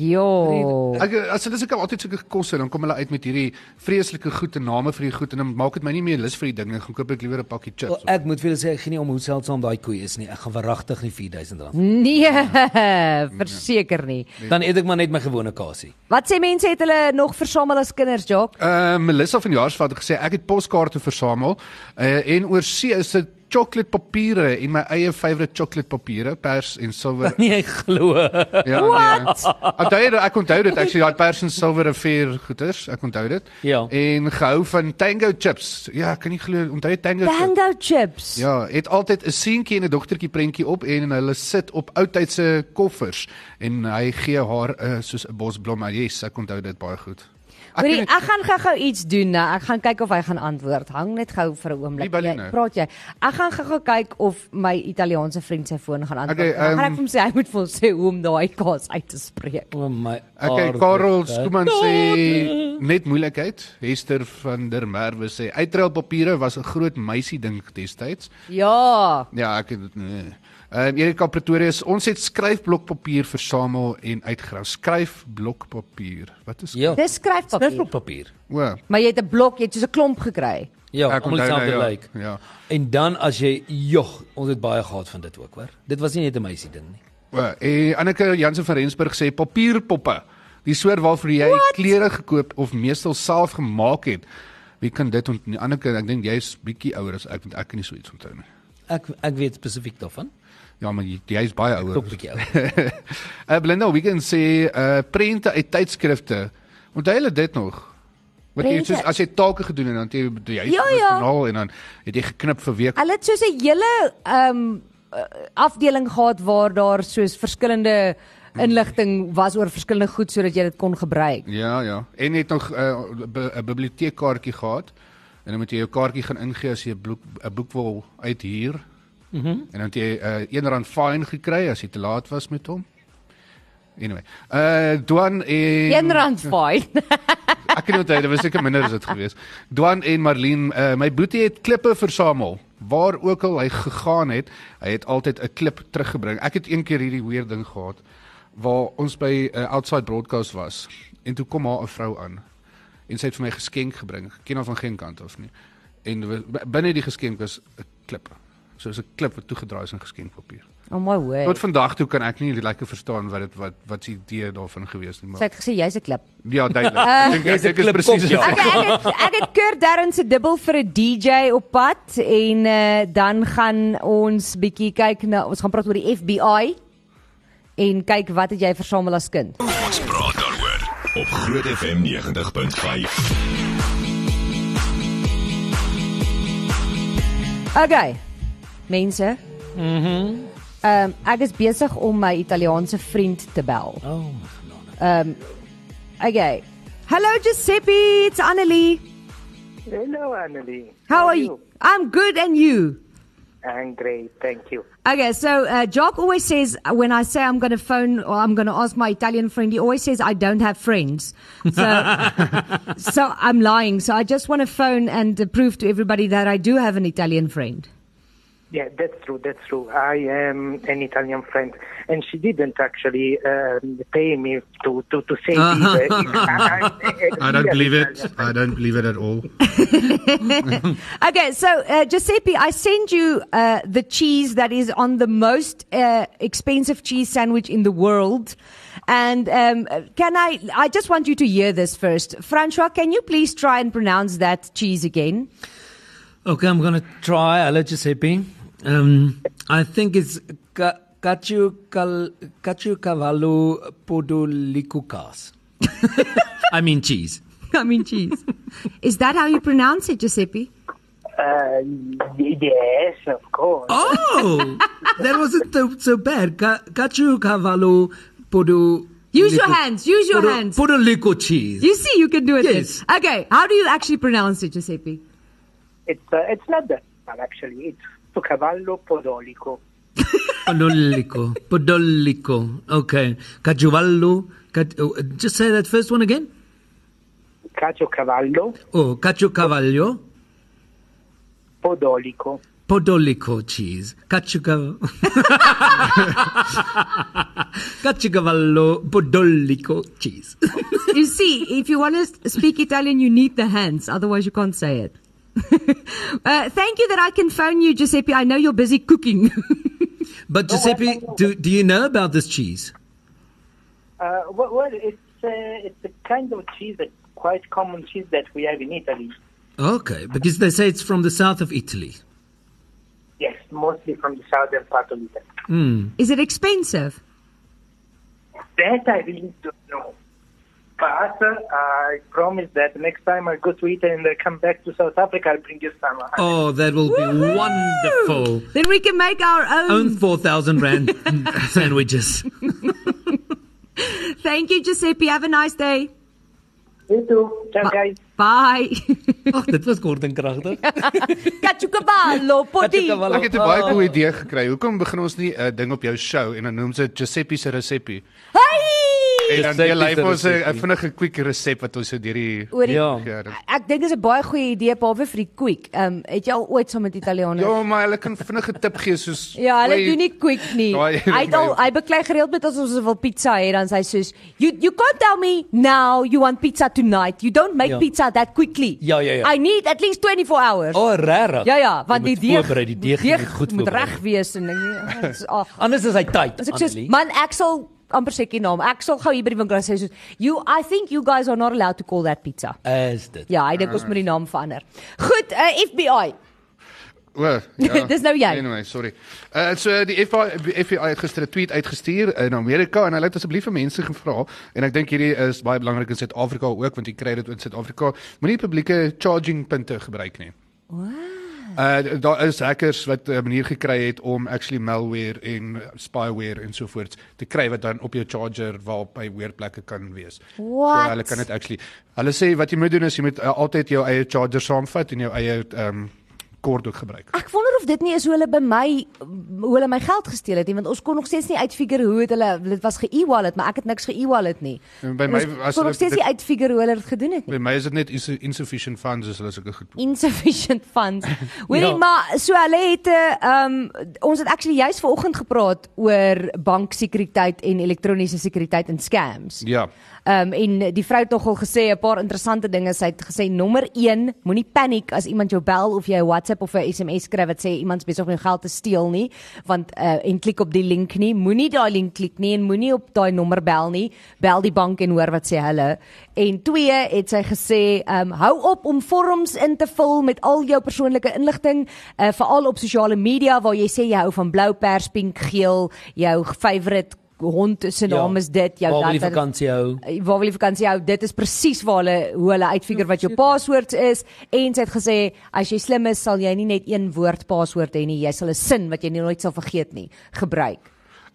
B: Jo.
D: Ek eh, as hulle seker altyd seker gekos het, dan kom hulle uit met hierdie vreeslike goed en name vir die goed en dan maak dit my nie meer lus vir die ding nie. Gaan koop ek liewer 'n pakkie chips.
C: Wel, ek moet vir julle sê ek gee nie om hoe seldsaam daai koei is nie. Ek gaan verragtig nie R4000 rand.
B: Nee, verseker nie.
D: Nee.
C: Dan eet ek maar net my gewone kasie.
B: Wat sê mense het hulle nog versamel as kinders, Jock?
D: Ehm uh, Melissa van Jaarsvat het gesê ek het poskaarte versamel uh, en oor see is dit chocolatepapiere en my eie favourite chocolatepapiere, pers en silwer.
C: Nee, ek glo.
D: ja. Wat? Onthou jy ek onthou dit actually daai pers en silwer rivier goeters, ek onthou dit.
C: Ja.
D: En gehou van Tango chips. Ja, ek kan nie glo onthou jy Tango chips.
B: Tango chips.
D: Ja, het altyd 'n seentjie en 'n dogtertjie prentjie op en hulle sit op oudtydse koffers en hy gee haar uh, soos 'n bosblom. Ah, Yes, ek onthou dit baie goed. Ek
B: Hoorie,
D: kan nie-
B: ek gaan gou-gou iets doen. Nou. Ek gaan kyk of hy gaan antwoord. Hang net gou vir 'n
D: Wie
B: oomblik.
D: bel jy
B: Jy-
D: nou?
B: Praat jy. Ek gaan gou-gou kyk of my Italiaanse vriend sy foon gaan antwoord.
D: Okay,
B: Okay, um, gaan
D: ehm,
B: ek vir hom sê hy moet vir ons sê hoe om daai kaas uit te spreek.
C: O my.
D: Okay,
C: aarde.
D: Karel Skuman sê net moeilikheid. Hester van der Merwe sê uitreilpapiere was 'n groot meisie ding destyds.
B: Ja.
D: Ja, ek het dit nee. Ehm um, Erika Pretorius, ons het skryfblokpapier versamel en uitgraf. Skryfblokpapier. Wat is
C: Ja.
B: Dis
C: Net
B: skryfpapier.
C: op papier.
D: O.
B: Maar jy het 'n blok, jy het soos 'n klomp gekry.
C: Ja,
D: Ek
C: om
D: onthou nou,
C: dieselfde
D: ja.
C: nou, lyk.
D: Ja.
C: En dan as jy jog, ons het baie gehad van dit ook, hoor. Dit was nie net 'n meisie ding nie.
D: O, en Anneke Jansen van Rensburg sê papierpoppe. Die soort waarvoor jy What? klere gekoop of meestal self gemaak het. Wie kan dit onthou? Anneke, ek dink jy's bietjie ouer as ek want ek kan nie so iets onthou nie.
C: Ek ek weet spesifiek daarvan.
D: Ja, maar jy- jy's baie ouer.
C: Tot bietjie ouer.
D: uh, Belinda Wiggins sê uh prente uit tydskrifte. Onthou julle dit nog? Wat jy
B: Prente?
D: soos as jy take gedoen en dan het jy jy het
B: Ja,
D: dit
B: ja.
D: journaal en dan het jy geknip vir week.
B: Hulle het soos 'n hele ehm uh, afdeling gehad waar daar soos verskillende inligting was oor verskillende goed sodat jy dit kon gebruik.
D: Ja, ja. En het nog 'n uh, 'n biblioteekkaartjie gehad. En dan moet jy jou kaartjie gaan ingee as jy 'n boek 'n boek wil uithuur. Mhm. Mm en dan het jy 'n uh, R1 fine gekry as jy te laat was met hom. Anyway. Uh Duan en
B: R1 fyn.
D: Ek kan nie onthou, dit was seker minder as dit gewees. Dwan en Marlene, uh, my boetie het klippe versamel. Waar ook al hy gegaan het, hy het altyd 'n klip teruggebring. Ek het een keer hierdie weird ding gehad waar ons by 'n uh, outside broadcast was en toe kom haar 'n vrou aan en sy het vir my geskenk gebring. Ek ken haar van geen kant af nie. En we- b- binne die geskenk was 'n klip. Soos 'n klip wat toegedraai is in geskenkpapier.
B: Oh my word.
D: Tot vandag toe kan ek nie lekker verstaan wat dit wat wat se idee daarvan gewees nie,
B: Sy
D: maar
B: het gesê jy's 'n klip.
D: ja, duidelik. Ek dink ek
C: Jy's 'n
D: dink dit is
C: klipkop,
D: presies
C: ja.
B: Ek ek het, ek het Kurt Darren se dubbel vir 'n DJ op pad en uh, dan gaan ons bietjie kyk na ons gaan praat oor die FBI en kyk wat het jy versamel as kind.
A: Ons praat daaroor op Groot FM 90.5.
B: Okay. Mense. Mhm. Ehm um, ek is besig om my Italiaanse vriend te bel.
C: Oh my genade.
B: Okay. Hello Giuseppe, it's Annelie.
E: Hello, Annalie.
B: How, are you? I'm good and you?
E: I'm great, thank you.
B: Okay, so uh, Jock always says uh, when I say I'm going to phone or I'm going to ask my Italian friend, he always says I don't have friends. So, so I'm lying. So I just want to phone and uh, prove to everybody that I do have an Italian friend.
E: Yeah, that's true, that's true. I am an Italian friend, and she didn't actually um, pay me to, to, to say uh, this. I,
D: Uh-huh. I don't believe it. I don't believe it at all.
B: Okay, so uh, Giuseppe, I send you uh, the cheese that is on the most uh, expensive cheese sandwich in the world. And um, can I? I just want you to hear this first. Francois, can you please try and pronounce that cheese again?
C: Okay, I'm going to try. Hello Giuseppe. Um I think it's ca- Cacio cal Cacio Cavallo Podolicucas. I mean cheese.
B: I mean cheese. Is that how you pronounce it, Giuseppe?
E: Uh, y- yes, of course.
C: Oh, that wasn't so, so bad. Ca- Cacio Cavallo Podo.
B: Use your hands, use your
C: Podo,
B: hands.
C: Podolico cheese.
B: You see, you can do it. then.
C: Yes.
B: Okay. How do you actually pronounce it, Giuseppe?
E: It's, uh, it's not that bad, actually. It's to cavallo podolico.
C: Podolico. Podolico. Okay. Caciovallo. Cac- oh, uh, just say that first one again.
E: Cacio cavallo
C: Oh, Cacio Cavallo
E: podolico.
F: Podolico cheese, Caciuca... Caciucavallo Podolico cheese.
B: you see, if you want to speak Italian, you need the hands. Otherwise, you can't say it. uh, thank you that I can phone you, Giuseppe. I know you're busy cooking.
F: But Giuseppe, do, do you know about this cheese?
E: Uh, well, well, it's uh, it's a kind of cheese that quite common cheese that we have in Italy.
F: Okay, because they say it's from the south of Italy.
E: Yes, mostly from the southern part of Italy.
B: Is it expensive?
E: That I really don't know. But uh, I promise that next time I go to Italy and I come back to South Africa, I'll bring you some.
F: Oh, that will
B: Woohoo!
F: be wonderful.
B: Then we can make our own.
F: Own 4,000 Rand sandwiches.
B: Thank you, Giuseppe. Have a nice day.
E: You too. Ciao, guys.
B: Bye. Oh,
F: Ag, dit was kort en kragtig.
B: Caciucavallo, Podin.
D: Ek het 'n baie goeie idee gekry. Hoekom begin ons nie 'n ding op jou show en dan noem dit Giuseppe se resepie?
B: Hey!
D: En dan
C: Giuseppe
D: jy lei
C: se
D: vir ons 'n
C: resepie.
D: 'n vinnige quick resep wat ons so deur die
B: Oor die,
C: Ja.
D: ja, dit-
B: Ek dink dit is 'n baie goeie idee behalwe vir die quick. Ehm um, het jy al ooit saam met Italianers?
D: Ja, maar hulle kan vinnige tip gee soos
B: Ja, hulle
D: "Oei,
B: doen nie quick nie.
D: Daai-
B: Hy het al hy beklei gereeld met ons as ons wil pizza hê dan sê hy soos you you can't tell me now you want pizza tonight. You don't make
C: Ja.
B: pizza that quickly.
C: Ja, ja, ja.
B: I need at least 24 hours.
C: O, oh, regtig?
B: Ja ja, want die deeg,
C: voorberei, die deeg, moet goed
B: moet
C: voorberei.
B: reg wees en ding. ja, Ag,
C: Anders is hy tight.
B: As ek sê,
C: Annelie.
B: man, ek sal amper seker naam. Ek sal gou hier by die winkel sê soos, "You I think you guys are not allowed to call that pizza."
C: is dit.
B: Ja, ek dink ons moet die naam verander. Goed, uh, FBI.
D: O, ja.
B: Dis nou jy.
D: Anyway, sorry. Uh so die FBI FBI het gister 'n tweet uitgestuur in Amerika en hulle het asseblief vir mense gevra en ek dink hierdie is baie belangrik in Suid-Afrika ook want jy kry dit in Suid-Afrika. Moenie publieke charging punte gebruik nie. Uh daar is hackers wat 'n manier gekry het om actually malware en spyware en so voort te kry wat dan op jou charger waarop hy weerplekke kan wees.
B: What?
D: So hulle kan dit actually hulle sê wat jy moet doen is jy moet uh, altyd jou eie charger saamvat en jou eie ehm um, kort ook gebruik.
B: Ek wonder of dit nie is hoe hulle by my hoe hulle my geld gesteel het nie, want ons kon nog steeds nie uitfigure hoe het hulle dit was ge-e-wallet, maar ek het niks ge-e-wallet nie.
D: En Ja, by
B: En
D: my
B: ons
D: as
B: kon nog
D: hulle
B: steeds
D: dit-
B: nie uitfigure hoe hulle dit gedoen het nie.
D: By my is dit net insu- insufficient funds as hulle sulke goed.
B: insufficient funds. Hoorie
C: Ja.
B: ja. maar so hulle het 'n um, ons het actually juis vanoggend gepraat oor banksekuriteit en elektroniese sekuriteit en scams.
D: Ja.
B: Ehm um, en die vrou het nogal gesê 'n paar interessante dinge. Sy het gesê nommer 1, moenie paniek as iemand jou bel of jy 'n WhatsApp of 'n SMS skryf wat sê iemand is besig om jou geld te steel nie, want uh, en klik op die link nie. Moenie daai link klik nie en moenie op daai nommer bel nie. Bel die bank en hoor wat sê hulle. En 2 het sy gesê, ehm um, hou op om vorms in te vul met al jou persoonlike inligting, uh, veral op sosiale media waar jy sê jy hou van blou pers, pink, geel, jou favorite hond se naam is dit, jou
C: Waar wil
B: Ja, dat-
C: jy vakansie hou?
B: Uh, waar wil jy vakansie hou? Dit is presies waar hulle hoe hulle uitfigure wat jou passwords is en sy het gesê as jy slim is sal jy nie net een woord passwoord hê nie, jy sal 'n sin wat jy nie nooit sal vergeet nie gebruik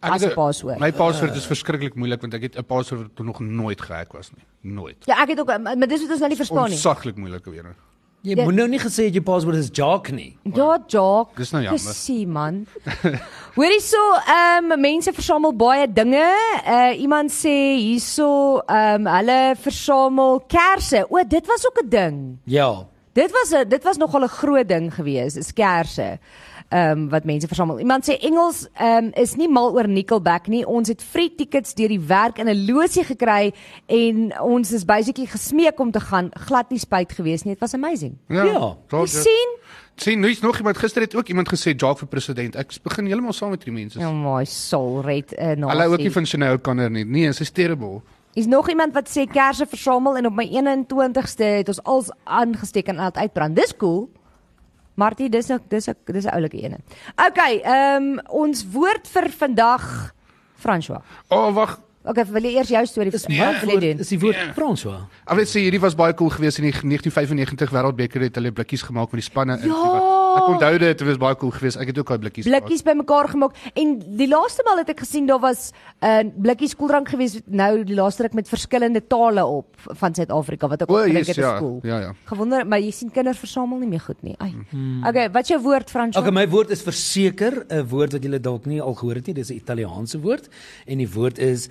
B: as Ah. 'n passwoord.
D: My paswoord is verskriklik moeilik want ek het 'n paswoord wat nog nooit gehack was nie. Nooit.
B: Ja, ek het ook maar maar dis wat ons nou nie verstaan nie.
D: Onsaglik moeilik weer.
C: Jy
B: Ja.
C: moet nou nie gesê het jou paswoord is Jacques nie.
B: Ja, Jock.
D: Dis nou jammer.
B: Sien man. Hoorie so, ehm um, mense versamel baie dinge. Uh iemand sê hierso ehm um, hulle versamel kersse. O, dit was ook 'n ding.
C: Ja.
B: Dit was 'n dit was nogal 'n groot ding gewees, is kersse. Ehm um, wat mense versamel. Iemand sê Engels ehm um, is nie mal oor Nickelback nie. Ons het free tickets deur die werk in 'n losie gekry en ons is basically gesmeek om te gaan. Glad nie spyt gewees nie. Dit was amazing.
C: Ja.
B: Jy sien?
D: Sien, nou is nog iemand gister het ook iemand gesê Jacques vir president. Ek s- begin heeltemal saam met hierdie mense.
B: Ja,
D: Ja,
B: my soul red uh, na.
D: hulle hou ook nie van Chanel Conner nie. Nee, sy's terrible.
B: Is nog iemand wat sê kersse versamel en op my 21ste het ons als aangesteek en laat uitbrand. Dis cool. Martie, dis 'n dis 'n dis 'n oulike ene. Okay, ehm ons woord vir vandag François.
D: O, oh, wag.
B: Okay, wil jy eers jou storie
C: Is
B: vertel?
D: nee,
C: my
B: Wat Ja, wil jy
C: woord
B: doen?
C: is die
D: Ja.
C: woord François.
D: Ek wil net sê hierdie was baie cool geweest in die 1995 Wêreldbeker het hulle blikkies gemaak met die spanne in.
B: Ja.
D: Ek onthou dit, dit was baie cool geweest. Ek het ook daai blikkies. gemaak.
B: Blikkies bymekaar gemaak en die laaste maal het ek gesien daar was 'n uh, blikkies koeldrank gewees nou die laaste ruk met verskillende tale op van Suid-Afrika wat ek
D: O,
B: ook gedink
D: yes,
B: het
D: ja,
B: is cool.
D: ja, Mhm. ja.
B: Gewonder, maar jy sien kinders versamel nie meer goed nie. Ai. Okay, wat is jou woord François?
C: Okay, my woord is verseker 'n woord wat julle dalk nie al gehoor het nie. Dis 'n Italiaanse woord en die woord is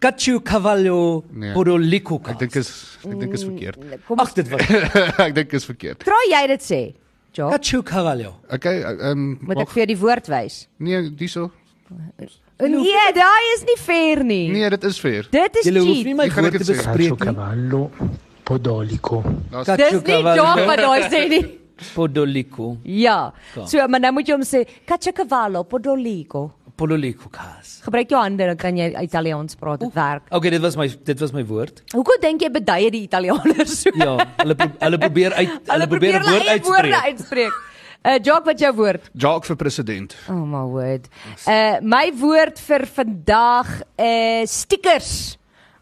C: caciocavallo
D: Nee.
C: podolico.
B: Mm.
D: Ek dink is ek dink is verkeerd.
B: Kom ons
C: Ag dit was
D: ek dink is verkeerd.
B: Probeer jy dit sê? Ja.
C: Kachu Cavallo.
D: Okay, ehm um,
B: Moet ek vir jou die woord wys?
D: Nee, diesel.
B: Nee, daai is nie fair nie.
D: Nee, dit is fair.
B: Dit is
C: Jy hoef nie
B: cheat.
C: my
D: Ek gaan
C: woord
D: dit
C: te
D: sê.
C: bespreek nie.
G: cavallo podolico.
D: Daar's
B: Dis nie dom wat daai sê nie.
C: Podolico.
B: Ja. So, maar nou moet jy hom sê, "Cacciacavallo podolico."
C: Podolico kas.
B: Gebruik jou hande, dan kan jy Italiaans praat, dit werk.
C: Okay, dit was my dit was my woord.
B: Hoekom dink jy beduie die Italianers so?
C: Ja, hulle pro- hulle probeer uit hulle probeer 'n
B: hulle
C: woord
B: eie woorde
C: uitspreek.
B: uitspreek. Uh Jock, wat jou woord?
D: Jock vir president.
B: Oh my word. Uh my woord vir vandag is stickers.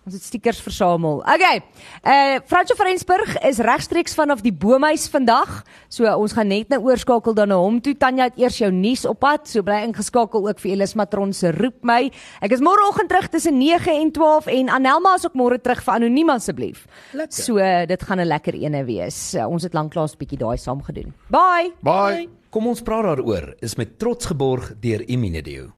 B: Ons het stickers versamel. Okay. Uh Fransjo Frensburg is regstreeks vanaf die Boomhuis vandag. So uh, ons gaan net nou oorskakel dan na hom toe. Tanya het eers jou nuus op pad, so bly ingeskakel ook vir Elis Matron se roep my. Ek is môreoggend terug tussen 9 en 12 en Anelma is ook môre terug vir anoniem asseblief. So uh, dit gaan 'n lekker ene wees. Uh, ons het lanklaas 'n bietjie daai saam gedoen. Bye.
D: Bye. Bye.
C: Kom ons praat daaroor is met trots geborg deur Iminedeo.